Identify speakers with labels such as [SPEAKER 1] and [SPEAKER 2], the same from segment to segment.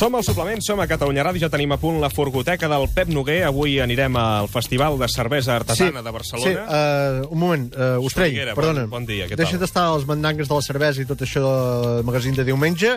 [SPEAKER 1] Som al suplement, som a Catalunya Ràdio, ja tenim a punt la forgoteca del Pep Noguer. Avui anirem al Festival de Cervesa Artesana de
[SPEAKER 2] Sí,
[SPEAKER 1] Barcelona.
[SPEAKER 2] uh, un moment, uh, Ostrell,
[SPEAKER 1] Soriguera, bon-
[SPEAKER 2] perdona.
[SPEAKER 1] bon dia, què tal?
[SPEAKER 2] Deixa d'estar els mandangues de la cervesa i tot això del magazín de diumenge.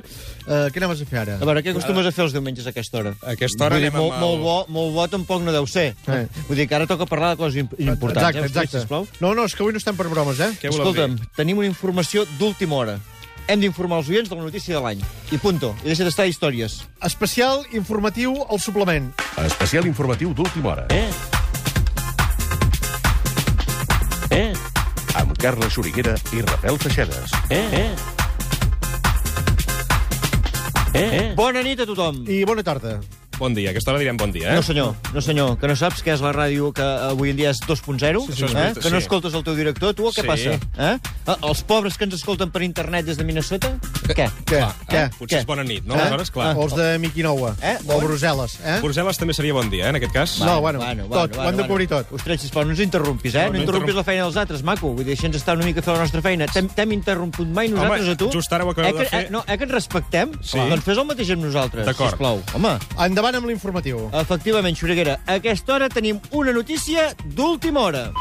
[SPEAKER 2] Uh, què anaves a fer ara?
[SPEAKER 3] A veure, què acostumes a fer els diumenges a aquesta hora?
[SPEAKER 1] A aquesta hora
[SPEAKER 3] Vull dir,
[SPEAKER 1] anem
[SPEAKER 3] molt,
[SPEAKER 1] amb el-
[SPEAKER 3] molt, bo, molt bo tampoc no deu ser.
[SPEAKER 2] Eh.
[SPEAKER 3] Vull dir que ara toca parlar de coses imp- importants.
[SPEAKER 2] Exacte,
[SPEAKER 3] eh? Ostrell,
[SPEAKER 2] exacte.
[SPEAKER 3] sisplau.
[SPEAKER 2] No, no, és que avui no estem per bromes, eh?
[SPEAKER 1] Què voleu dir?
[SPEAKER 3] Escolta'm, tenim una informació d'última hora. Hem d'informar els oients de la notícia de l'any. I punto. I deixa d'estar a històries.
[SPEAKER 2] Especial informatiu al suplement.
[SPEAKER 4] Especial informatiu d'última hora.
[SPEAKER 3] Eh? Eh?
[SPEAKER 4] Amb Carla Xuriguera i Rafael Feixedes.
[SPEAKER 3] Eh? Eh? Eh? eh? Bona nit a tothom.
[SPEAKER 2] I bona tarda.
[SPEAKER 1] Bon dia, a aquesta hora direm bon dia, eh?
[SPEAKER 3] No, senyor, no, senyor, que no saps què és la ràdio que avui en dia és 2.0,
[SPEAKER 1] Sí, sí,
[SPEAKER 3] eh?
[SPEAKER 1] és veritat,
[SPEAKER 3] que no
[SPEAKER 1] sí.
[SPEAKER 3] escoltes el teu director, tu, o què
[SPEAKER 1] Sí.
[SPEAKER 3] passa? Eh? Ah, Els pobres que ens escolten per internet des de Minnesota, què?
[SPEAKER 2] Què? Què?
[SPEAKER 1] Eh? Potser
[SPEAKER 3] Què?
[SPEAKER 1] és bona nit, no?
[SPEAKER 3] Eh?
[SPEAKER 1] Aleshores, clar.
[SPEAKER 2] O els de Miquinoua.
[SPEAKER 3] Eh?
[SPEAKER 2] O Brussel·les, eh?
[SPEAKER 1] Brussel·les també seria bon dia, eh, en aquest cas.
[SPEAKER 2] No, bueno, tot, ho hem de cobrir tot.
[SPEAKER 3] Ostres, sisplau, no ens interrompis, eh?
[SPEAKER 1] No,
[SPEAKER 3] No,
[SPEAKER 1] no
[SPEAKER 3] interrompis
[SPEAKER 1] interromp-
[SPEAKER 3] la feina dels altres, maco. Vull dir, deixa'ns estar una mica a fer la nostra feina. T'hem t'hem interromput mai nosaltres
[SPEAKER 1] Home,
[SPEAKER 3] a tu?
[SPEAKER 1] just ara ho acabeu
[SPEAKER 3] eh, que,
[SPEAKER 1] de fer.
[SPEAKER 3] Eh, no, eh, que ens respectem?
[SPEAKER 1] Sí.
[SPEAKER 3] Doncs fes el mateix amb nosaltres,
[SPEAKER 1] D'acord.
[SPEAKER 3] sisplau. Home,
[SPEAKER 2] Endavant amb l'informatiu.
[SPEAKER 3] Efectivament, Xuriguera, a aquesta hora tenim una notícia d'última hora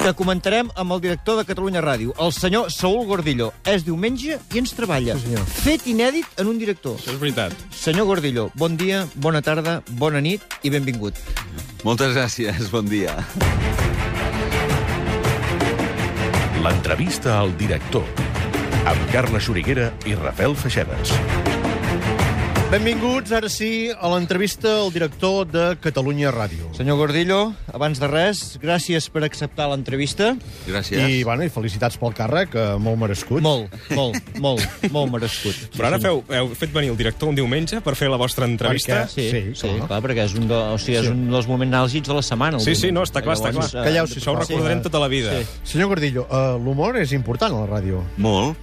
[SPEAKER 3] que comentarem amb el director de Catalunya Ràdio, el senyor Saúl Gordillo. És diumenge i ens treballa.
[SPEAKER 2] Sí, senyor.
[SPEAKER 3] Fet inèdit en un director.
[SPEAKER 1] Això és veritat.
[SPEAKER 3] Senyor Gordillo, bon dia, bona tarda, bona nit i benvingut.
[SPEAKER 5] Moltes gràcies, bon dia.
[SPEAKER 4] L'entrevista al director. Amb Carla Xuriguera i Rafael Feixedes.
[SPEAKER 2] Benvinguts, ara sí, a l'entrevista al director de Catalunya Ràdio.
[SPEAKER 3] Senyor Gordillo, abans de res, gràcies per acceptar l'entrevista.
[SPEAKER 5] Gràcies.
[SPEAKER 2] I, bueno, i felicitats pel càrrec, eh, molt merescut.
[SPEAKER 3] eh? Molt, molt, molt, molt merescut. Sí,
[SPEAKER 1] Però ara
[SPEAKER 3] senyor.
[SPEAKER 1] feu, heu fet venir el director un diumenge per fer la vostra entrevista.
[SPEAKER 2] Perquè-
[SPEAKER 3] Sí, sí,
[SPEAKER 2] Sí,
[SPEAKER 3] sí
[SPEAKER 2] clar.
[SPEAKER 3] clar, perquè és un, de, o sigui, és
[SPEAKER 2] Sí.
[SPEAKER 3] un dels moments àlgids de la setmana. el
[SPEAKER 1] Sí, sí,
[SPEAKER 3] diumenge.
[SPEAKER 1] no, està clar, està clar.
[SPEAKER 3] eh,
[SPEAKER 2] Calleu,
[SPEAKER 1] Això ho
[SPEAKER 2] sisplau.
[SPEAKER 1] recordarem tota la vida.
[SPEAKER 3] Sí.
[SPEAKER 2] Senyor Gordillo, uh, l'humor és important a la ràdio.
[SPEAKER 5] Molt.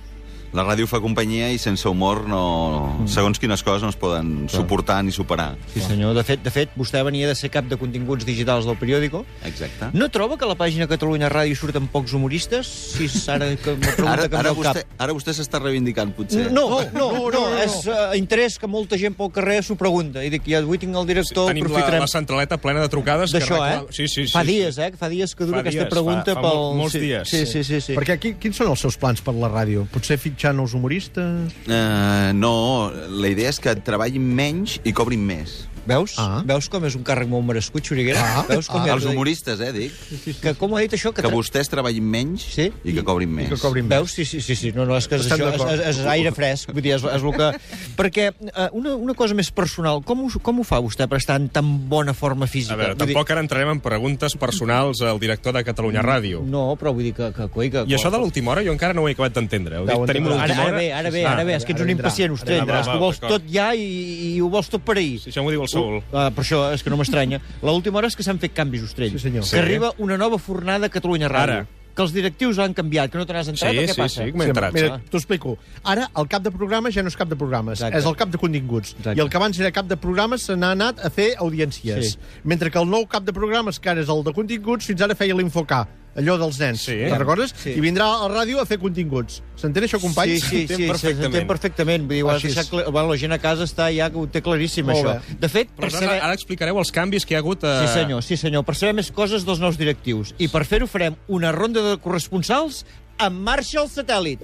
[SPEAKER 5] La ràdio fa companyia i sense humor
[SPEAKER 3] Mm.
[SPEAKER 5] no... Segons quines coses no es poden suportar ni superar.
[SPEAKER 3] Sí, senyor. De fet, de fet, vostè venia de ser cap de continguts digitals del periòdico.
[SPEAKER 5] Exacte.
[SPEAKER 3] No troba que a la pàgina Catalunya Ràdio surten pocs humoristes? Si és ara que la pregunta
[SPEAKER 5] Ara,
[SPEAKER 3] que em ve
[SPEAKER 5] ara,
[SPEAKER 3] al cap.
[SPEAKER 5] vostè, ara vostè s'està reivindicant, potser.
[SPEAKER 3] No, no, no,
[SPEAKER 2] no,
[SPEAKER 3] no,
[SPEAKER 2] no, no.
[SPEAKER 3] és uh, interès que molta gent pel carrer s'ho pregunta. I dic, ja avui tinc el director,
[SPEAKER 1] Tenim la,
[SPEAKER 3] aprofitarem
[SPEAKER 1] la centraleta plena de trucades. que
[SPEAKER 3] d'això, eh?
[SPEAKER 1] reclam- Sí, sí, sí.
[SPEAKER 3] fa
[SPEAKER 1] sí.
[SPEAKER 3] dies, eh? que Fa dies que dura
[SPEAKER 1] Fa
[SPEAKER 3] aquesta
[SPEAKER 1] dies,
[SPEAKER 3] pregunta
[SPEAKER 1] fa- fa
[SPEAKER 3] pel...
[SPEAKER 1] mol- molts
[SPEAKER 3] sí,
[SPEAKER 1] dies.
[SPEAKER 3] Sí, sí, sí. sí.
[SPEAKER 2] Sí. Perquè qui, quins són els seus plans per la ràdio? Potser fitxar nous humoristes?
[SPEAKER 5] Eh, no, la idea és que treballin menys i cobrin més.
[SPEAKER 3] Veus?
[SPEAKER 2] Ah.
[SPEAKER 3] Veus com és un càrrec molt merescut, Xuriguera?
[SPEAKER 2] Ah.
[SPEAKER 3] Veus com
[SPEAKER 2] Ah.
[SPEAKER 3] hi ha-
[SPEAKER 5] Els humoristes, eh, dic.
[SPEAKER 3] Que com ha dit això? Que,
[SPEAKER 5] Que
[SPEAKER 3] tra-
[SPEAKER 5] vostès treballin menys
[SPEAKER 3] Sí?
[SPEAKER 5] i que cobrin més.
[SPEAKER 2] I que cobrin més.
[SPEAKER 3] Veus? Sí, sí, sí, sí. No, no, és que és,
[SPEAKER 2] Estem
[SPEAKER 3] això, és,
[SPEAKER 2] d'acord.
[SPEAKER 3] és, és aire fresc. Vull dir, és, és el que... Perquè eh, una, una cosa més personal, com ho, com ho fa vostè per estar en tan bona forma
[SPEAKER 1] A
[SPEAKER 3] física?
[SPEAKER 1] veure,
[SPEAKER 3] Vull
[SPEAKER 1] tampoc ara entrarem en preguntes personals al director de Catalunya Ràdio.
[SPEAKER 3] Dir, no, però vull dir que... que, coi, que
[SPEAKER 1] I això de l'última hora jo encara no ho he acabat d'entendre. Heu dit,
[SPEAKER 2] Deu,
[SPEAKER 1] tenim
[SPEAKER 2] deu.
[SPEAKER 1] una
[SPEAKER 3] Ara,
[SPEAKER 1] última
[SPEAKER 3] ara
[SPEAKER 1] hora...
[SPEAKER 3] bé, ara bé,
[SPEAKER 1] Ah,
[SPEAKER 3] ara bé, és que ets un
[SPEAKER 2] ara vindrà,
[SPEAKER 3] impacient,
[SPEAKER 2] ara
[SPEAKER 3] ostrell,
[SPEAKER 1] vindrà.
[SPEAKER 3] és que ho vols
[SPEAKER 1] D'acord.
[SPEAKER 3] tot ja i, i ho vols tot per ahir.
[SPEAKER 1] Sí, Això m'ho diu el Saúl.
[SPEAKER 3] Ah, per això és que no m'estranya. L'última hora és que s'han fet canvis, Ostrell.
[SPEAKER 2] Sí, senyor.
[SPEAKER 3] Que
[SPEAKER 1] Sí.
[SPEAKER 3] arriba una nova fornada a Catalunya Ràdio.
[SPEAKER 1] Ara.
[SPEAKER 3] Que els directius han canviat, que no te n'has entrat,
[SPEAKER 1] Sí,
[SPEAKER 3] o què
[SPEAKER 1] sí,
[SPEAKER 3] passa?
[SPEAKER 1] sí, m'he entrat.
[SPEAKER 2] Mira, t'ho explico. Ara, el cap de programa ja no és cap de programes,
[SPEAKER 3] Ah. Exacte.
[SPEAKER 2] és el cap de continguts.
[SPEAKER 3] Exacte.
[SPEAKER 2] I el que abans era cap de programes se n'ha anat a fer audiències.
[SPEAKER 3] Sí.
[SPEAKER 2] Mentre que el nou cap de programes, que ara és el de continguts, fins ara feia l'Infocà, allò dels nens.
[SPEAKER 1] Sí.
[SPEAKER 2] Te'n recordes?
[SPEAKER 3] Sí.
[SPEAKER 2] I vindrà a la ràdio a fer continguts. S'entén això, companys?
[SPEAKER 3] Sí, sí,
[SPEAKER 1] S'entén
[SPEAKER 3] sí,
[SPEAKER 1] perfectament.
[SPEAKER 3] s'entén perfectament. Vull dir, ho has
[SPEAKER 2] Així és.
[SPEAKER 3] deixat clar... bueno, la gent a casa està ja que ho té claríssim,
[SPEAKER 2] Molt
[SPEAKER 3] això.
[SPEAKER 2] bé.
[SPEAKER 3] De fet,
[SPEAKER 1] Però
[SPEAKER 3] per
[SPEAKER 1] ara,
[SPEAKER 3] saber...
[SPEAKER 1] ara explicareu els canvis que hi ha hagut... eh, A...
[SPEAKER 3] Sí, senyor, sí, senyor. Per saber més coses dels nous directius. I per fer-ho farem una ronda de corresponsals en marxa el satèl·lit.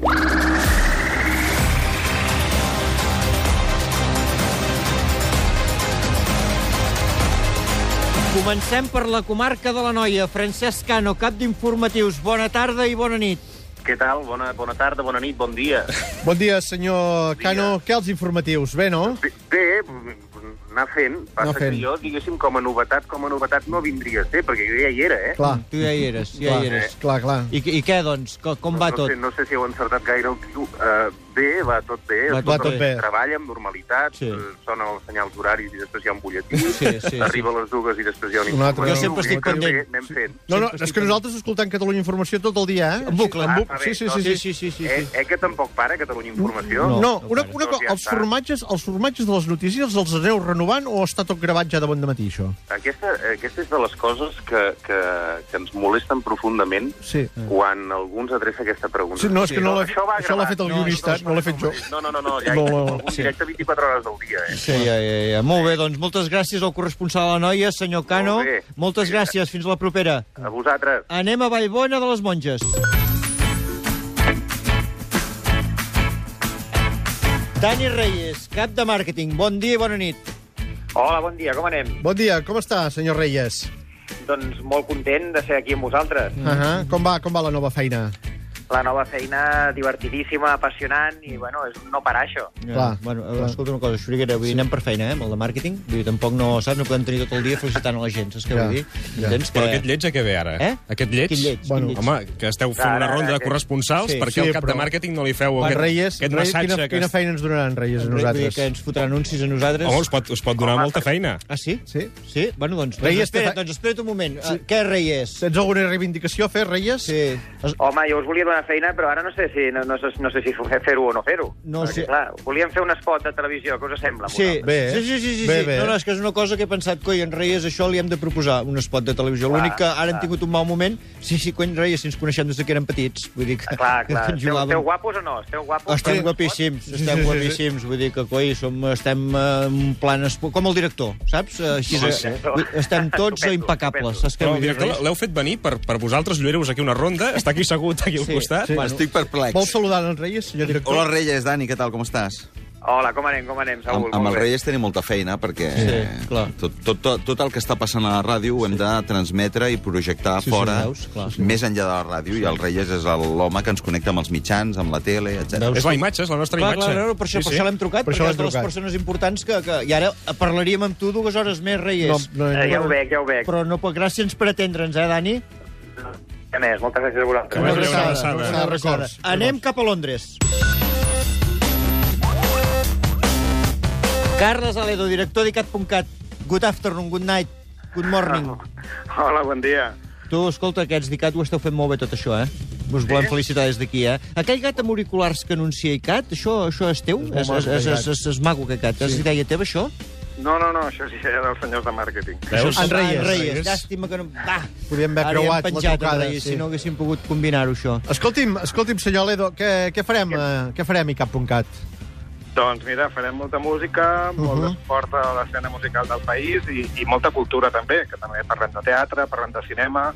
[SPEAKER 3] Comencem per la comarca de la Noia. Francesc Cano, cap d'informatius. Bona tarda i bona nit.
[SPEAKER 6] Què tal? Bona, bona tarda, bona nit, bon dia.
[SPEAKER 2] Bon dia, senyor Cano. Què els informatius? Bé, no?
[SPEAKER 6] Bé, bé anar fent. Passa
[SPEAKER 2] Anar fent.
[SPEAKER 6] que jo, diguéssim, com a novetat, com a novetat no vindria a ser, perquè jo ja hi era, eh?
[SPEAKER 2] Clar,
[SPEAKER 3] Mm, Tu ja hi eres, ja
[SPEAKER 2] clar,
[SPEAKER 3] hi eres.
[SPEAKER 2] clar, clar.
[SPEAKER 3] I, I què, doncs? Co- Com va
[SPEAKER 6] no,
[SPEAKER 3] tot?
[SPEAKER 6] Sé, no sé si heu encertat gaire el tio. Uh, bé, va tot bé.
[SPEAKER 3] Va
[SPEAKER 6] Escolta,
[SPEAKER 3] tot
[SPEAKER 2] bé.
[SPEAKER 6] Treballa amb normalitat,
[SPEAKER 3] Sí.
[SPEAKER 6] sí. sonen els senyals horaris i després hi ha un butlletí.
[SPEAKER 3] Sí, sí, sí.
[SPEAKER 6] Arriba a les dues i després hi ha un
[SPEAKER 2] Un altre.
[SPEAKER 6] informatiu.
[SPEAKER 2] Jo
[SPEAKER 3] sempre
[SPEAKER 6] Vull dir
[SPEAKER 3] estic
[SPEAKER 6] que
[SPEAKER 3] pendent.
[SPEAKER 6] Bé, anem fent.
[SPEAKER 2] No, no, és que nosaltres escoltem Catalunya Informació tot el dia, eh?
[SPEAKER 3] En bucle, en
[SPEAKER 2] Ah,
[SPEAKER 3] bucle.
[SPEAKER 2] està bé,
[SPEAKER 6] Sí, sí,
[SPEAKER 2] doncs-
[SPEAKER 6] sí,
[SPEAKER 3] sí, sí, sí,
[SPEAKER 6] Eh, eh, que tampoc para Catalunya Informació?
[SPEAKER 2] No,
[SPEAKER 3] No,
[SPEAKER 2] una,
[SPEAKER 3] no
[SPEAKER 2] una
[SPEAKER 6] para.
[SPEAKER 2] cosa, els formatges, els formatges de les notícies els aneu renovant o està tot gravat ja de bon matí, això?
[SPEAKER 6] Aquesta, aquesta és de les coses que, que, que ens molesten profundament
[SPEAKER 2] Sí.
[SPEAKER 6] quan algú ens adreça aquesta pregunta.
[SPEAKER 2] Sí, no, és que no l'ha-
[SPEAKER 6] això va
[SPEAKER 2] això l'ha
[SPEAKER 6] gravat.
[SPEAKER 2] fet el
[SPEAKER 6] No,
[SPEAKER 2] guionista,
[SPEAKER 6] això-
[SPEAKER 2] no l'he fet jo.
[SPEAKER 6] No, no, no, no ja
[SPEAKER 2] No,
[SPEAKER 6] no,
[SPEAKER 2] no, no.
[SPEAKER 6] no, un directe 24 hores al dia, eh?
[SPEAKER 3] Sí, ja, ja, ja. Molt bé, doncs moltes gràcies al corresponsal de la noia, senyor Cano.
[SPEAKER 6] Molt bé.
[SPEAKER 3] Moltes gràcies, fins la propera.
[SPEAKER 6] A vosaltres.
[SPEAKER 3] Anem a Vallbona de les Monges. Dani Reyes, cap de màrqueting. Bon dia i bona nit.
[SPEAKER 7] Hola, bon dia, com anem?
[SPEAKER 2] Bon dia, com està, senyor Reyes?
[SPEAKER 7] Doncs molt content de ser aquí amb vosaltres.
[SPEAKER 2] Uh -huh. com, va, com va la nova feina?
[SPEAKER 7] La nova feina divertidíssima, apassionant, i bueno, és un no parar, això.
[SPEAKER 2] Clar,
[SPEAKER 3] Eh, bueno,
[SPEAKER 2] clar.
[SPEAKER 3] escolta una cosa, Xuriguera, vull dir, anem per feina, eh, amb el de màrqueting. Vull dir, tampoc no, saps, no podem tenir tot el dia felicitant a la gent, saps què
[SPEAKER 2] Ja,
[SPEAKER 3] vull dir?
[SPEAKER 2] ja.
[SPEAKER 3] Entens
[SPEAKER 1] Però aquest lleig a què ve ara?
[SPEAKER 3] Eh?
[SPEAKER 1] Aquest lleig?
[SPEAKER 3] Quin lleig,
[SPEAKER 2] Bueno,
[SPEAKER 3] quin lleig.
[SPEAKER 1] Home, que esteu fent
[SPEAKER 7] Ara,
[SPEAKER 1] una ronda de
[SPEAKER 7] aquest-
[SPEAKER 1] corresponsals,
[SPEAKER 3] Sí,
[SPEAKER 1] sí, perquè
[SPEAKER 2] sí,
[SPEAKER 1] el cap
[SPEAKER 2] però-
[SPEAKER 1] de màrqueting no li feu
[SPEAKER 2] Quan
[SPEAKER 1] aquest,
[SPEAKER 2] Reyes,
[SPEAKER 1] aquest
[SPEAKER 2] Reyes
[SPEAKER 1] massatge.
[SPEAKER 2] quina,
[SPEAKER 1] que
[SPEAKER 2] quina
[SPEAKER 1] es-
[SPEAKER 2] feina ens donaran Reyes a
[SPEAKER 3] Vull dir
[SPEAKER 2] nosaltres?
[SPEAKER 3] que ens fotran anuncis a nosaltres.
[SPEAKER 1] Home, us pot, us pot donar molta feina.
[SPEAKER 3] Ah, sí?
[SPEAKER 2] Sí?
[SPEAKER 3] Sí? Bueno, doncs, doncs,
[SPEAKER 2] Reyes,
[SPEAKER 3] espera't,
[SPEAKER 2] te fa-
[SPEAKER 3] doncs espera't un moment. Sí. Què, Reyes?
[SPEAKER 2] Tens alguna reivindicació a fer, Reyes?
[SPEAKER 3] Sí. Es-
[SPEAKER 7] Home, jo us volia donar feina, però ara no sé si, no, no, sé- no sé si fer- fer-ho o no fer-ho.
[SPEAKER 3] No
[SPEAKER 7] Perquè,
[SPEAKER 3] sé.
[SPEAKER 7] Clar, volíem fer un spot de televisió, què us sembla? a
[SPEAKER 3] Sí,
[SPEAKER 7] vosaltres?
[SPEAKER 2] Bé,
[SPEAKER 3] sí, sí, sí, sí,
[SPEAKER 2] bé,
[SPEAKER 3] sí.
[SPEAKER 2] bé.
[SPEAKER 3] No, no, és que és una cosa que he pensat, coi, en Reyes, això li hem de proposar, un spot de televisió.
[SPEAKER 7] Clar,
[SPEAKER 3] L'únic que ara hem
[SPEAKER 7] clar.
[SPEAKER 3] tingut un mal moment... Sí, sí, coi, Reyes, si ens coneixem des que érem petits, vull dir que...
[SPEAKER 7] Clar, clar.
[SPEAKER 3] que ens
[SPEAKER 7] Esteu,
[SPEAKER 3] jugàvem.
[SPEAKER 7] esteu guapos o no? Esteu guapos?
[SPEAKER 3] Estem
[SPEAKER 7] Sí.
[SPEAKER 3] guapíssims, estem
[SPEAKER 2] sí, sí.
[SPEAKER 3] guapíssims. Vull dir que, coi, som, estem eh, en plan... espo- Com el director, saps? Així,
[SPEAKER 7] Sí,
[SPEAKER 3] eh,
[SPEAKER 7] sí.
[SPEAKER 3] vull- Estem tots
[SPEAKER 7] Estupendo,
[SPEAKER 3] impecables. Saps què
[SPEAKER 1] Però,
[SPEAKER 3] vull dir,
[SPEAKER 1] director,
[SPEAKER 3] Reyes?
[SPEAKER 1] l'heu fet venir per, per vosaltres, lluireu-vos aquí una ronda, està aquí segut, aquí al
[SPEAKER 3] Sí,
[SPEAKER 1] costat.
[SPEAKER 3] sí.
[SPEAKER 5] Bueno. Estic perplex.
[SPEAKER 2] Vols saludar en Reyes, senyor director?
[SPEAKER 5] Hola, Reyes, Dani, què tal, com estàs?
[SPEAKER 7] Hola, com anem, com anem, Saúl?
[SPEAKER 5] Amb, amb
[SPEAKER 7] Molt
[SPEAKER 5] els
[SPEAKER 7] bé.
[SPEAKER 5] Reyes tenim molta feina, perquè
[SPEAKER 3] Sí, clar.
[SPEAKER 5] tot, tot, tot, tot el que està passant a la ràdio ho hem de transmetre i projectar
[SPEAKER 3] Sí, sí,
[SPEAKER 5] fora,
[SPEAKER 3] veus? Clar.
[SPEAKER 5] més enllà de la ràdio, i el Reyes és el- l'home que ens connecta amb els mitjans, amb la tele, etc.
[SPEAKER 1] És la imatge, és la nostra
[SPEAKER 3] Clar, clar,
[SPEAKER 1] imatge.
[SPEAKER 3] clar, per això, sí, per això l'hem trucat,
[SPEAKER 2] Per
[SPEAKER 3] per
[SPEAKER 2] això
[SPEAKER 3] perquè
[SPEAKER 2] l'hem
[SPEAKER 3] és de les
[SPEAKER 2] trucat.
[SPEAKER 3] persones importants que, que... I ara parlaríem amb tu dues hores més, Reyes.
[SPEAKER 2] No, no,
[SPEAKER 7] Eh, ja ho
[SPEAKER 2] no,
[SPEAKER 7] veig, ja ho veig.
[SPEAKER 3] Però no pot... Gràcies per atendre'ns, eh, Dani?
[SPEAKER 7] Què més? Moltes gràcies a vosaltres.
[SPEAKER 1] Que vagi bé, una abraçada.
[SPEAKER 2] Una abraçada.
[SPEAKER 3] Anem cap a Londres. Carles Aledo, director d'ICAT.cat. Good afternoon, good night, good morning.
[SPEAKER 7] Ah.
[SPEAKER 6] Hola, bon dia.
[SPEAKER 3] Tu, escolta, aquests d'ICAT ho esteu fent molt bé tot això, eh? Us volem felicitar des d'aquí, eh? Aquell gat amb auriculars que anuncia ICAT, això, això és teu? És, és, és, és, és, és maco, aquest gat. És idea teva, això?
[SPEAKER 6] No, no, no, això sí era dels senyors de màrqueting.
[SPEAKER 1] Veus?
[SPEAKER 3] En Reyes.
[SPEAKER 2] En
[SPEAKER 3] Reyes. Llàstima que no... Va,
[SPEAKER 2] Podíem haver
[SPEAKER 3] ara
[SPEAKER 2] creuat
[SPEAKER 3] hi hem
[SPEAKER 2] la
[SPEAKER 3] penjat,
[SPEAKER 2] trucada,
[SPEAKER 3] en Reyes,
[SPEAKER 2] sí.
[SPEAKER 3] si no haguéssim pogut combinar-ho, això.
[SPEAKER 2] Escolti'm, escolti'm, senyor Ledo, què, què farem, eh, què farem i cap.cat?
[SPEAKER 6] Doncs mira, farem molta música,
[SPEAKER 5] Uh-huh.
[SPEAKER 6] molt
[SPEAKER 2] Mhm.
[SPEAKER 6] d'esport a l'escena musical del país i, i molta cultura també, que també parlem de teatre, parlem de cinema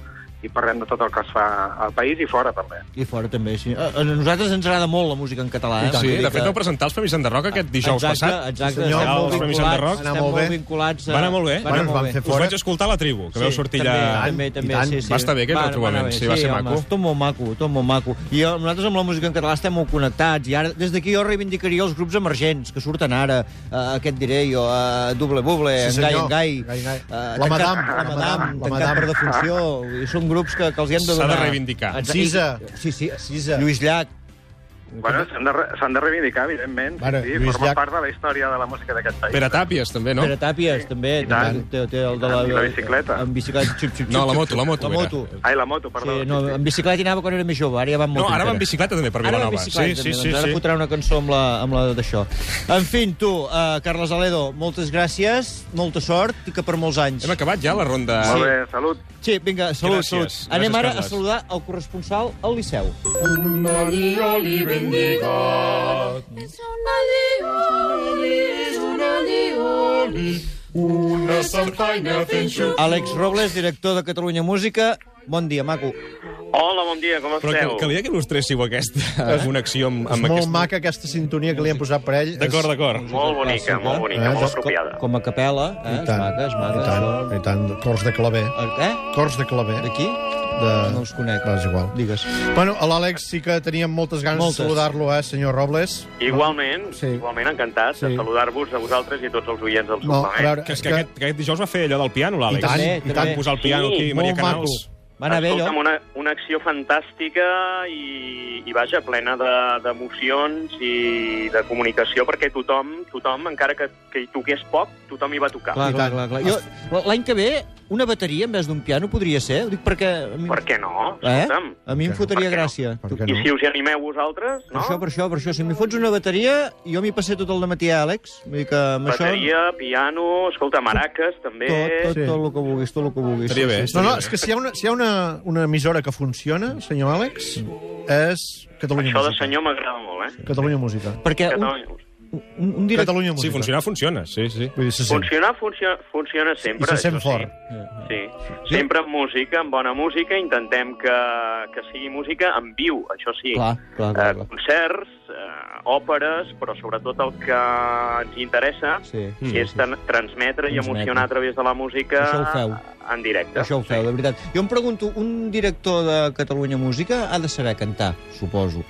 [SPEAKER 6] i parlem de tot el que es fa al país i fora també.
[SPEAKER 3] I fora, també, sí. A, a nosaltres ens agrada molt la música en català, eh?
[SPEAKER 1] Sí,
[SPEAKER 3] Vull dir
[SPEAKER 1] de fet,
[SPEAKER 3] que-
[SPEAKER 1] vau presentar els Premis Enderroc aquest dijous
[SPEAKER 3] exacte,
[SPEAKER 1] passat.
[SPEAKER 3] Exacte,
[SPEAKER 2] Sí, senyor,
[SPEAKER 3] estem
[SPEAKER 2] molt
[SPEAKER 3] molt
[SPEAKER 2] vinculats, anar
[SPEAKER 3] vinculats, estem
[SPEAKER 2] molt
[SPEAKER 3] molt,
[SPEAKER 2] bé.
[SPEAKER 3] vinculats.
[SPEAKER 1] Va anar molt bé.
[SPEAKER 3] Va
[SPEAKER 1] Bueno,
[SPEAKER 3] anar
[SPEAKER 2] ens
[SPEAKER 3] molt
[SPEAKER 2] van
[SPEAKER 3] bé.
[SPEAKER 2] fer
[SPEAKER 1] Us vaig escoltar a la tribu, que veu sortir
[SPEAKER 3] també, Ah,
[SPEAKER 1] allà...
[SPEAKER 3] També, també,
[SPEAKER 2] I tant.
[SPEAKER 3] sí, sí.
[SPEAKER 1] Va estar bé aquell
[SPEAKER 3] Va,
[SPEAKER 1] retrobament,
[SPEAKER 3] va anar bé,
[SPEAKER 1] sí, va ser
[SPEAKER 3] home,
[SPEAKER 1] maco.
[SPEAKER 3] Tot molt maco, tot molt maco. I eh, nosaltres amb la música en català estem molt connectats, i ara des d'aquí jo reivindicaria els grups emergents que surten ara, eh, aquest diré jo, eh, Double Buble,
[SPEAKER 2] Sí,
[SPEAKER 3] en Gai,
[SPEAKER 2] senyor.
[SPEAKER 3] en Gai,
[SPEAKER 2] Gai, Gai.
[SPEAKER 3] eh,
[SPEAKER 2] La
[SPEAKER 3] tancat-
[SPEAKER 2] Madame, la
[SPEAKER 3] la Madame,
[SPEAKER 2] Madame.
[SPEAKER 3] tancat per defunció, i són grups que, que els hi hem de
[SPEAKER 1] S'ha de
[SPEAKER 3] donar.
[SPEAKER 1] reivindicar.
[SPEAKER 3] Exacte.
[SPEAKER 2] Sisa.
[SPEAKER 3] Sí, sí,
[SPEAKER 2] Sisa.
[SPEAKER 3] Lluís Llach,
[SPEAKER 6] Bueno, s'han de, re- s'han de reivindicar, evidentment.
[SPEAKER 2] Ara,
[SPEAKER 6] sí,
[SPEAKER 2] Lluís
[SPEAKER 6] forma
[SPEAKER 2] Llach.
[SPEAKER 6] part de la història de la música d'aquest país.
[SPEAKER 1] Pere Tàpies, també, no?
[SPEAKER 3] Pere Tàpies, també.
[SPEAKER 6] i
[SPEAKER 3] també
[SPEAKER 6] tant.
[SPEAKER 3] té, té el de la,
[SPEAKER 6] I la bicicleta.
[SPEAKER 3] Amb bicicleta, xup, xup, xup,
[SPEAKER 1] No, la
[SPEAKER 3] xup,
[SPEAKER 1] moto, la
[SPEAKER 3] xup.
[SPEAKER 1] moto
[SPEAKER 3] La
[SPEAKER 1] era.
[SPEAKER 3] moto.
[SPEAKER 6] Ai, la moto, perdó.
[SPEAKER 3] Sí, no, en bicicleta hi anava quan era més jove, ara ja va amb moto.
[SPEAKER 1] No, ara va
[SPEAKER 3] encara.
[SPEAKER 1] amb bicicleta també per
[SPEAKER 3] Ara va amb
[SPEAKER 1] Vilanova.
[SPEAKER 3] bicicleta, també, doncs ara fotrà una cançó amb la, amb la d'això. En fi, tu, eh, Carles Aledo, moltes gràcies, molta sort i que per molts anys.
[SPEAKER 1] Hem acabat ja la ronda...
[SPEAKER 6] Molt bé, salut.
[SPEAKER 3] Sí, vinga, salut,
[SPEAKER 1] Gràcies.
[SPEAKER 3] salut.
[SPEAKER 1] Gràcies,
[SPEAKER 3] Anem ara
[SPEAKER 1] Carles.
[SPEAKER 3] a saludar el corresponsal al Liceu.
[SPEAKER 8] Es una lioli, és una lioli, una sanfaina fent xup.
[SPEAKER 3] Àlex Robles, director de Catalunya Música. Bon dia, maco.
[SPEAKER 9] Hola, bon dia, com
[SPEAKER 1] Però que,
[SPEAKER 9] esteu?
[SPEAKER 1] calia que il·lustréssiu aquesta connexió amb,
[SPEAKER 2] És
[SPEAKER 1] amb
[SPEAKER 2] molt
[SPEAKER 1] aquesta...
[SPEAKER 2] maca aquesta sintonia que li han posat per ell.
[SPEAKER 1] D'acord, d'acord.
[SPEAKER 9] Molt bonica, molt bonica,
[SPEAKER 2] Eh,
[SPEAKER 9] molt
[SPEAKER 2] és
[SPEAKER 9] apropiada.
[SPEAKER 3] Com a capella, eh?
[SPEAKER 2] I
[SPEAKER 3] És
[SPEAKER 2] tant,
[SPEAKER 3] maca, és maca.
[SPEAKER 2] i tant, i tant. Cors de claver.
[SPEAKER 3] això. Eh?
[SPEAKER 2] Cors de claver.
[SPEAKER 3] D'aquí?
[SPEAKER 2] De...
[SPEAKER 3] No els conec.
[SPEAKER 2] Va, és igual.
[SPEAKER 3] Digues.
[SPEAKER 2] Bueno, a l'Àlex sí que teníem moltes ganes
[SPEAKER 3] Moltes.
[SPEAKER 2] de saludar-lo, eh, senyor Robles.
[SPEAKER 9] Igualment,
[SPEAKER 2] Sí.
[SPEAKER 9] igualment encantat
[SPEAKER 2] Sí.
[SPEAKER 9] de saludar-vos a vosaltres i a tots els oients del
[SPEAKER 2] No, a
[SPEAKER 9] suplement.
[SPEAKER 2] veure,
[SPEAKER 1] Que, és que, aquest, que aquest dijous va fer allò del piano, l'Àlex.
[SPEAKER 2] I tant,
[SPEAKER 3] També,
[SPEAKER 2] i tant.
[SPEAKER 3] també.
[SPEAKER 1] Posar el piano
[SPEAKER 9] Sí,
[SPEAKER 1] aquí, Maria
[SPEAKER 2] molt
[SPEAKER 1] Canals.
[SPEAKER 3] Va anar bé,
[SPEAKER 9] Escolta'm,
[SPEAKER 3] allò?
[SPEAKER 9] una, una acció fantàstica i, i vaja, plena de- d'emocions de, i de comunicació, perquè tothom, tothom encara que, que hi toqués poc, tothom hi va tocar.
[SPEAKER 3] Clar,
[SPEAKER 2] I
[SPEAKER 3] clar,
[SPEAKER 2] tant.
[SPEAKER 3] clar, clar. Jo, l'any que ve, una bateria en vez d'un piano podria ser? Ho dic perquè... a mi-
[SPEAKER 9] Per què no?
[SPEAKER 3] Eh?
[SPEAKER 9] Escolta'm.
[SPEAKER 3] A mi em fotaria
[SPEAKER 9] Per què no?
[SPEAKER 3] gràcia.
[SPEAKER 2] Per què
[SPEAKER 9] I
[SPEAKER 2] no?
[SPEAKER 9] si us hi animeu vosaltres,
[SPEAKER 3] Per
[SPEAKER 9] no?
[SPEAKER 3] això, per això, per això. Si m'hi fots una bateria, jo m'hi passé tot el matí a Àlex. Vull dir que amb
[SPEAKER 9] Bateria, eh? piano, escolta, maraques, també...
[SPEAKER 3] això... Tot, tot,
[SPEAKER 2] Sí.
[SPEAKER 3] tot el que vulguis, tot el que vulguis.
[SPEAKER 1] Estaria bé.
[SPEAKER 3] Sí,
[SPEAKER 2] No, no, és que si hi ha una, si hi ha una, una emissora que funciona, senyor Àlex, és Catalunya
[SPEAKER 9] Això de
[SPEAKER 2] Música.
[SPEAKER 9] senyor m'agrada molt, eh?
[SPEAKER 2] Catalunya Música.
[SPEAKER 3] Perquè un,
[SPEAKER 9] Catalunya.
[SPEAKER 3] un, un director...
[SPEAKER 2] Catalunya Música.
[SPEAKER 1] Sí, funcionar funciona, sí, sí.
[SPEAKER 2] Vull dir, se sent.
[SPEAKER 9] Funcionar funciona, funciona sempre.
[SPEAKER 2] I se sent
[SPEAKER 9] això
[SPEAKER 2] fort.
[SPEAKER 9] Sí. sí. Sempre amb música, amb bona música, intentem que, que sigui música en viu, això sí.
[SPEAKER 3] Clar, clar, clar.
[SPEAKER 9] Eh,
[SPEAKER 3] clar.
[SPEAKER 9] concerts, eh, òperes, però sobretot el que ens interessa
[SPEAKER 3] Sí.
[SPEAKER 9] mm, és tan, transmetre i
[SPEAKER 3] Transmetre.
[SPEAKER 9] emocionar a través de la música
[SPEAKER 3] Això ho feu.
[SPEAKER 9] en directe.
[SPEAKER 3] Això ho feu, de veritat. Jo em pregunto, un director de Catalunya Música ha de saber cantar, suposo.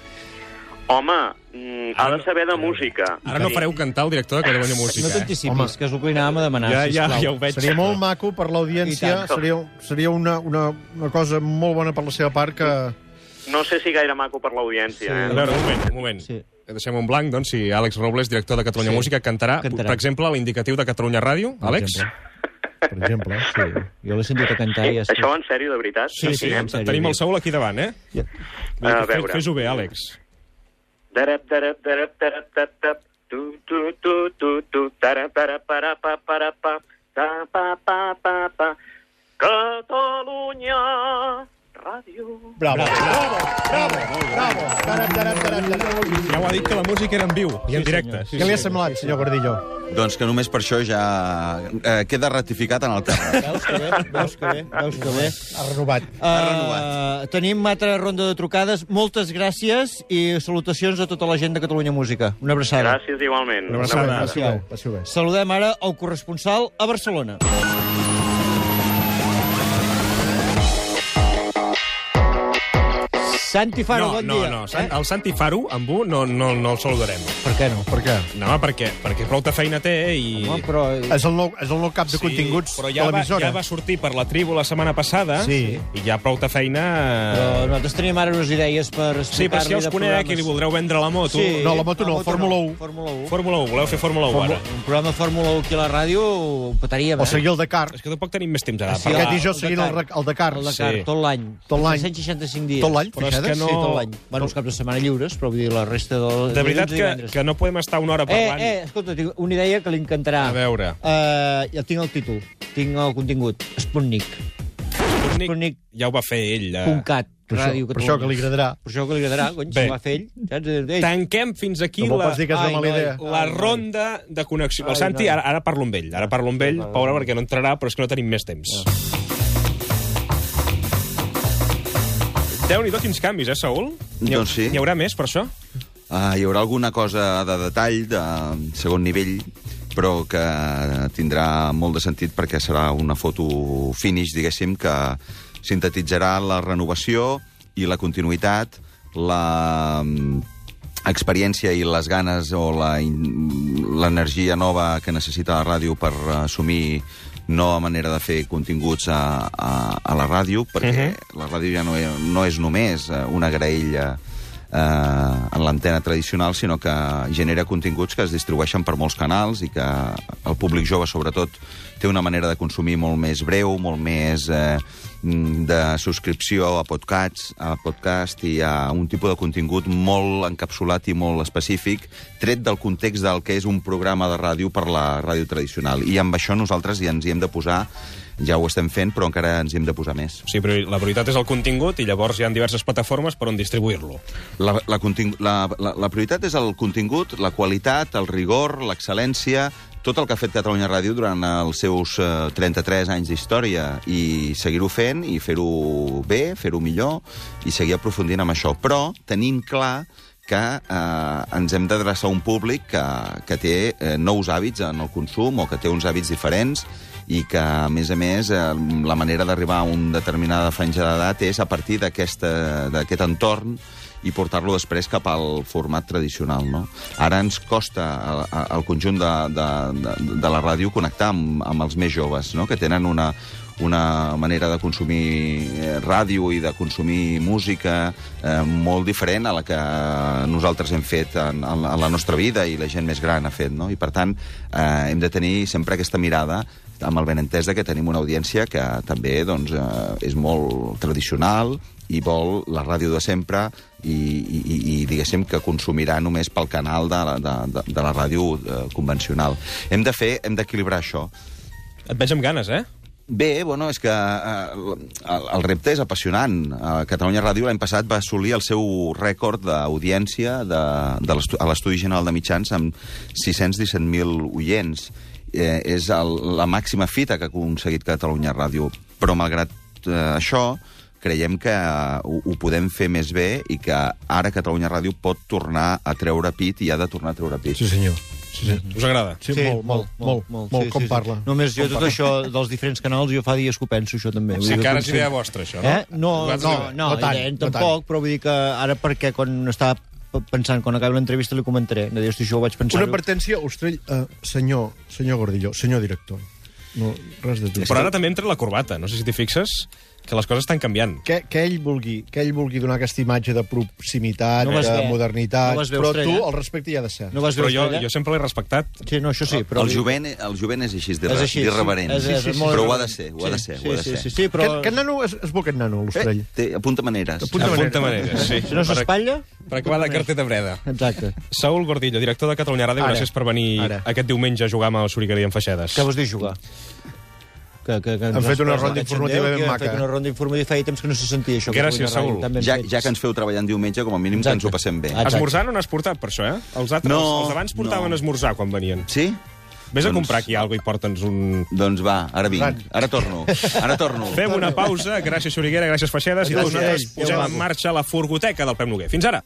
[SPEAKER 9] Home, mm, ha de saber de música.
[SPEAKER 1] Ara no fareu cantar el director de Catalunya Música.
[SPEAKER 3] No
[SPEAKER 1] eh?
[SPEAKER 3] t'anticipis,
[SPEAKER 2] Home.
[SPEAKER 3] que és el que li anàvem a demanar,
[SPEAKER 1] Ja, ja,
[SPEAKER 3] sisplau.
[SPEAKER 1] ja ho veig.
[SPEAKER 2] Seria molt maco per
[SPEAKER 3] I
[SPEAKER 2] l'audiència,
[SPEAKER 3] tant.
[SPEAKER 2] seria, seria una, una, una cosa molt bona per la seva part que...
[SPEAKER 9] No sé si gaire maco per l'audiència.
[SPEAKER 1] A
[SPEAKER 9] Sí. Eh?
[SPEAKER 1] veure, un moment, un moment.
[SPEAKER 3] Sí.
[SPEAKER 1] Deixem un blanc, doncs, si Àlex Robles, director de Catalunya
[SPEAKER 3] Sí.
[SPEAKER 1] Música, cantarà,
[SPEAKER 3] Cantarà.
[SPEAKER 1] per exemple, l'indicatiu de Catalunya Ràdio,
[SPEAKER 3] Per
[SPEAKER 1] Àlex?
[SPEAKER 3] exemple. Per exemple, sí. Jo l'he sentit a cantar i...
[SPEAKER 9] Eh,
[SPEAKER 3] estic-
[SPEAKER 9] això en sèrio, de veritat?
[SPEAKER 1] Sí, sí,
[SPEAKER 3] en sèrio,
[SPEAKER 1] tenim
[SPEAKER 3] dic.
[SPEAKER 1] el Saúl aquí davant, eh?
[SPEAKER 3] Ja.
[SPEAKER 1] Vull dir
[SPEAKER 9] A
[SPEAKER 1] que fe-
[SPEAKER 9] veure.
[SPEAKER 1] Fes-ho bé, Àlex.
[SPEAKER 9] Darap, darap, darap, darap, darap, darap. Tu, tu, tu, tu, tu. Darap, darap, para, pa, para, pa. Ta, pa, pa, pa, pa. Catalunya Ràdio.
[SPEAKER 2] Bravo, bravo, bravo, bravo. Tarap, tarap, tarap, tarap.
[SPEAKER 1] Ja ho ha dit que la música era en viu i en directe. Sí,
[SPEAKER 2] Què li ha
[SPEAKER 1] sí.
[SPEAKER 2] semblat, senyor Gordillo?
[SPEAKER 5] Doncs que només per això ja eh, queda ratificat en el terra.
[SPEAKER 3] Veus que bé, veus que bé, veus que bé.
[SPEAKER 2] Ha renovat.
[SPEAKER 3] Uh, tenim altra ronda de trucades. Moltes gràcies i salutacions a tota la gent de Catalunya Música. Una abraçada.
[SPEAKER 9] Gràcies igualment.
[SPEAKER 1] Una abraçada.
[SPEAKER 2] Passiu bé, passiu bé.
[SPEAKER 3] Saludem ara el corresponsal a Barcelona. Santi Faro,
[SPEAKER 1] No,
[SPEAKER 3] bon
[SPEAKER 1] no,
[SPEAKER 3] dia. Eh?
[SPEAKER 1] no. Sant, el Santi Faro, amb un, no, no, no el saludarem.
[SPEAKER 2] Per què no? Per què?
[SPEAKER 1] No, perquè, perquè prou ta feina té eh, i...
[SPEAKER 3] Home, però...
[SPEAKER 2] És el nou, és el nou cap de continguts
[SPEAKER 1] però ja
[SPEAKER 2] de
[SPEAKER 1] va,
[SPEAKER 2] l'emissora.
[SPEAKER 1] ja va sortir per la tribu la setmana passada
[SPEAKER 2] Sí.
[SPEAKER 1] i ja prou ta feina... eh,
[SPEAKER 3] Però eh, nosaltres tenim ara unes idees per
[SPEAKER 1] Sí, per
[SPEAKER 3] explicar-li
[SPEAKER 1] si ja us
[SPEAKER 3] de
[SPEAKER 1] conec i
[SPEAKER 3] programes.
[SPEAKER 1] li voldreu vendre la moto.
[SPEAKER 3] Sí.
[SPEAKER 2] No, la moto no, Fórmula 1.
[SPEAKER 3] Fórmula 1.
[SPEAKER 1] Fórmula 1, voleu fer Fórmula 1 ara?
[SPEAKER 3] Un programa de Fórmula 1 aquí a la ràdio ho petaríem,
[SPEAKER 2] O
[SPEAKER 3] eh?
[SPEAKER 2] seguir el Dakar.
[SPEAKER 1] És que tampoc tenim més temps ara.
[SPEAKER 3] Ah, Sí,
[SPEAKER 1] per
[SPEAKER 2] Aquest
[SPEAKER 1] parlar.
[SPEAKER 3] dijous-
[SPEAKER 2] dijous seguint el, rec- el Dakar.
[SPEAKER 3] El Dakar,
[SPEAKER 1] Sí.
[SPEAKER 3] tot l'any.
[SPEAKER 2] Tot l'any.
[SPEAKER 3] 165 dies.
[SPEAKER 2] Tot l'any,
[SPEAKER 3] Però és
[SPEAKER 2] fixades?
[SPEAKER 3] que no... Sí, tot l'any. Bueno, els caps de setmana lliures, però vull dir, la resta de...
[SPEAKER 1] De veritat que, que no podem estar una hora
[SPEAKER 3] Eh,
[SPEAKER 1] parlant.
[SPEAKER 3] eh, escolta, tinc una idea que li encantarà.
[SPEAKER 1] A veure.
[SPEAKER 3] Uh, ja tinc el títol, tinc el contingut. Sputnik.
[SPEAKER 1] Sputnik,
[SPEAKER 3] Sputnik.
[SPEAKER 1] ja ho va fer ell. Eh?
[SPEAKER 3] Uh, .cat.
[SPEAKER 2] Per això,
[SPEAKER 3] Ràdio
[SPEAKER 2] per això que li agradarà.
[SPEAKER 3] Per això que li agradarà, cony,
[SPEAKER 1] Bé.
[SPEAKER 3] si ho va fer ell. Saps? Ell.
[SPEAKER 1] Tanquem fins aquí
[SPEAKER 2] Tampoc
[SPEAKER 1] la,
[SPEAKER 2] pots dir que és
[SPEAKER 3] ai,
[SPEAKER 2] una mala
[SPEAKER 3] noi.
[SPEAKER 2] idea.
[SPEAKER 1] la ronda de connexió. El Santi, ara, ara parlo amb ell, ara parlo amb ell, pobre, perquè no entrarà, però és que no tenim més temps.
[SPEAKER 3] Ah.
[SPEAKER 1] Déu-n'hi-do quins canvis, eh, Saül? N'hi ha-
[SPEAKER 5] Doncs sí.
[SPEAKER 1] N'hi haurà més, per això?
[SPEAKER 5] Uh, hi haurà alguna cosa de detall de segon nivell, però que tindrà molt de sentit perquè serà una foto finish, diguéssim, que sintetitzarà la renovació i la continuïtat, la mm, experiència i les ganes o la in- l'energia nova que necessita la ràdio per assumir nova manera de fer continguts a, a, a la ràdio, perquè la ràdio ja no, e- no és només eh, una graella eh, en l'antena tradicional, sinó que genera continguts que es distribueixen per molts canals i que el públic jove, sobretot, té una manera de consumir molt més breu, molt més eh, mm, de subscripció a podcasts, a podcast i a un tipus de contingut molt encapsulat i molt específic, tret del context del que és un programa de ràdio per la ràdio tradicional. I amb això nosaltres ja ens hi hem de posar, ja ho estem fent, però encara ens hi hem de posar més.
[SPEAKER 1] Sí, però la prioritat és el contingut i llavors hi ha diverses plataformes per on distribuir-lo.
[SPEAKER 5] La, la, contingu- la, la, la prioritat és el contingut, la qualitat, el rigor, l'excel·lència, tot el que ha fet Catalunya Ràdio durant els seus eh, 33 anys d'història i seguir-ho fent i fer-ho bé, fer-ho millor i seguir aprofundint amb això. Però tenim clar que eh, ens hem d'adreçar a un públic que, que té eh, nous hàbits en el consum o que té uns hàbits diferents i que, a més a més, eh, la manera d'arribar a una determinada franja d'edat és a partir d'aquesta- d'aquest entorn i portar-lo després cap al format tradicional. No? Ara ens costa a- a- al conjunt de, de, de, de la ràdio connectar amb, amb els més joves, no? que tenen una, una manera de consumir eh, ràdio i de consumir música eh, molt diferent a la que nosaltres hem fet en, en, la- en la nostra vida i la gent més gran ha fet. No? I per tant, eh, hem de tenir sempre aquesta mirada amb el benentès de que tenim una audiència que també doncs, eh, és molt tradicional i vol la ràdio de sempre i, i, i, i diguéssim que consumirà només pel canal de la, de, de, de la ràdio eh, convencional. Hem de fer, hem d'equilibrar això.
[SPEAKER 1] Et veig amb ganes, eh?
[SPEAKER 5] Mm, Bé, bueno, és que eh, el, el repte és apassionant. Eh, Catalunya Ràdio l'any passat va assolir el seu rècord d'audiència de, de l'estu- a l'Estudi General de Mitjans amb 617.000 oients. Eh, és el, la màxima fita que ha aconseguit Catalunya Ràdio. Però malgrat eh, això, creiem que eh, ho, ho podem fer més bé i que ara Catalunya Ràdio pot tornar a treure pit i ha de tornar a treure pit.
[SPEAKER 2] Sí, senyor. Sí, sí.
[SPEAKER 1] Us agrada?
[SPEAKER 3] Eh,
[SPEAKER 2] Sí, sí, molt, molt, molt, molt, molt sí, com sí, parla. Sí.
[SPEAKER 3] Només jo tot això dels diferents canals, jo fa dies que ho penso, això també.
[SPEAKER 1] O sigui, que ara és idea vostra, això, no?
[SPEAKER 3] Eh? No, no,
[SPEAKER 1] Vosaltres
[SPEAKER 3] no,
[SPEAKER 1] sabeu.
[SPEAKER 3] no,
[SPEAKER 2] no tant,
[SPEAKER 3] idea,
[SPEAKER 2] no
[SPEAKER 3] tampoc, però vull dir que ara perquè quan estava p- pensant, quan acabi l'entrevista li comentaré. No dius, això ho vaig pensar.
[SPEAKER 2] Una advertència, Ostrell, uh, senyor, senyor Gordillo, senyor director. No, res de tu.
[SPEAKER 1] Però ara també entra la corbata. No sé si t'hi fixes, que les coses estan canviant.
[SPEAKER 2] que, que ell vulgui, que ell vulgui donar aquesta imatge de proximitat,
[SPEAKER 3] No
[SPEAKER 2] no
[SPEAKER 3] vas
[SPEAKER 2] de
[SPEAKER 3] bé.
[SPEAKER 2] modernitat,
[SPEAKER 3] No vas bé,
[SPEAKER 2] però
[SPEAKER 3] Ostrell,
[SPEAKER 2] tu
[SPEAKER 3] eh?
[SPEAKER 2] el respecte hi ha de ser.
[SPEAKER 3] No vas
[SPEAKER 1] Però
[SPEAKER 3] veure
[SPEAKER 1] jo,
[SPEAKER 3] Estrella?
[SPEAKER 1] jo sempre l'he respectat.
[SPEAKER 3] Sí, no, això sí, però...
[SPEAKER 5] El jovent, el jovent és així,
[SPEAKER 3] És
[SPEAKER 5] d'irre-
[SPEAKER 3] així, sí.
[SPEAKER 5] d'irreverent.
[SPEAKER 3] És- és molt
[SPEAKER 5] Però ho ha
[SPEAKER 3] irreverent.
[SPEAKER 5] de ser, ho ha de ser.
[SPEAKER 3] Sí,
[SPEAKER 5] ho ha de
[SPEAKER 3] sí,
[SPEAKER 5] ser.
[SPEAKER 3] sí, sí, però...
[SPEAKER 2] Aquest, aquest nano és, és bo, aquest nano, l'Ostrell.
[SPEAKER 5] Eh, té, apunta maneres.
[SPEAKER 2] Apunta maneres.
[SPEAKER 1] Apunta maneres, sí.
[SPEAKER 3] Si no
[SPEAKER 1] Per-
[SPEAKER 3] s'espatlla...
[SPEAKER 1] Per acabar de carter de breda.
[SPEAKER 3] Exacte.
[SPEAKER 1] Saúl Gordillo, director de Catalunya Ràdio,
[SPEAKER 2] Ara.
[SPEAKER 1] gràcies per venir
[SPEAKER 2] Ara.
[SPEAKER 1] aquest diumenge a jugar amb el Xurigueria en Feixedes.
[SPEAKER 3] Què vols dir jugar? Que, que, que
[SPEAKER 2] Han fet una ronda
[SPEAKER 3] Ens
[SPEAKER 2] informativa
[SPEAKER 3] senteu?
[SPEAKER 2] ben
[SPEAKER 3] Que
[SPEAKER 2] maca. eh?
[SPEAKER 3] Han fet una ronda informativa i feia temps que no se sentia això.
[SPEAKER 1] Gràcies,
[SPEAKER 3] Catalunya Ràdio,
[SPEAKER 1] Saül.
[SPEAKER 3] tan ben
[SPEAKER 5] Ja,
[SPEAKER 3] fet.
[SPEAKER 5] ja que ens feu treballant diumenge, com a mínim que ens ho passem bé.
[SPEAKER 3] Ah,
[SPEAKER 1] Esmorzar no n'has portat, per això, eh? Els, altres,
[SPEAKER 5] No,
[SPEAKER 1] els d'abans portaven
[SPEAKER 5] no.
[SPEAKER 1] esmorzar quan venien.
[SPEAKER 5] Sí?
[SPEAKER 1] Vés a
[SPEAKER 5] Doncs-
[SPEAKER 1] comprar aquí alguna i porta'ns un...
[SPEAKER 5] Doncs va, ara vinc. Ara torno. Ara torno.
[SPEAKER 1] Fem una pausa, gràcies Xuriguera, gràcies Feixedes, i
[SPEAKER 2] Gràcies.
[SPEAKER 1] nosaltres posem
[SPEAKER 2] Adéu,
[SPEAKER 1] en marxa la furgoteca del Pep Noguer. Fins ara!